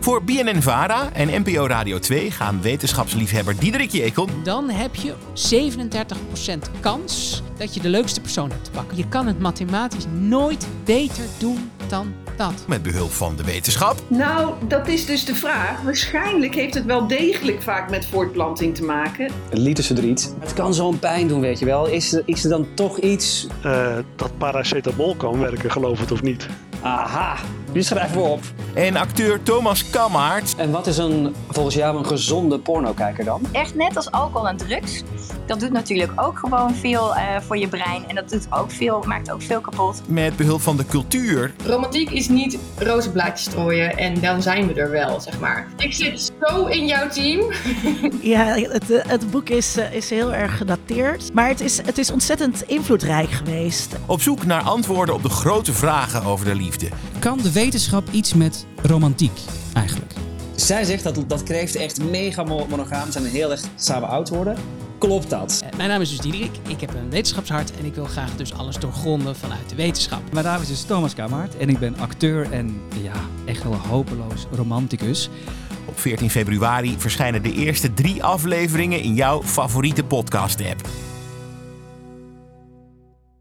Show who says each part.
Speaker 1: Voor BNNVARA en NPO Radio 2 gaan wetenschapsliefhebber Diederik Jekel...
Speaker 2: dan heb je 37% kans dat je de leukste persoon hebt te pakken. Je kan het mathematisch nooit beter doen dan dat.
Speaker 1: met behulp van de wetenschap...
Speaker 3: Nou, dat is dus de vraag. Waarschijnlijk heeft het wel degelijk vaak met voortplanting te maken.
Speaker 4: lieten ze er iets.
Speaker 5: Het kan zo'n pijn doen, weet je wel. Is er, is er dan toch iets?
Speaker 6: eh, dat paracetamol kan werken, geloof het of niet.
Speaker 5: Aha, die schrijven we op.
Speaker 1: en acteur Thomas Kammaert...
Speaker 5: En wat is een, volgens jou een gezonde pornokijker dan?
Speaker 7: echt net als alcohol en drugs. Dat doet natuurlijk ook gewoon veel eh, voor je brein. En dat doet ook veel, maakt ook veel kapot.
Speaker 1: met behulp van de cultuur...
Speaker 8: Romantiek is niet roze blaadjes strooien en dan zijn we er wel, zeg maar. Ik zit zo in jouw team.
Speaker 9: Ja, het, eh, het boek is, eh, is heel erg gedateerd. Maar het is, het is ontzettend invloedrijk geweest.
Speaker 1: op zoek naar antwoorden op de grote vragen over de liefde.
Speaker 10: Kan de wetenschap iets met romantiek eigenlijk?
Speaker 5: Zij zegt dat, dat kreeft echt mega mo- monogaam zijn en heel erg samen oud worden. Klopt dat?
Speaker 2: Eh, Mijn naam is dus Diederik, ik heb een wetenschapshart en ik wil graag dus alles doorgronden vanuit de wetenschap.
Speaker 10: Mijn naam is dus Thomas Kamaert en ik ben acteur en ja, echt wel hopeloos romanticus.
Speaker 1: Op 14 februari verschijnen de eerste drie afleveringen in jouw favoriete podcast-app.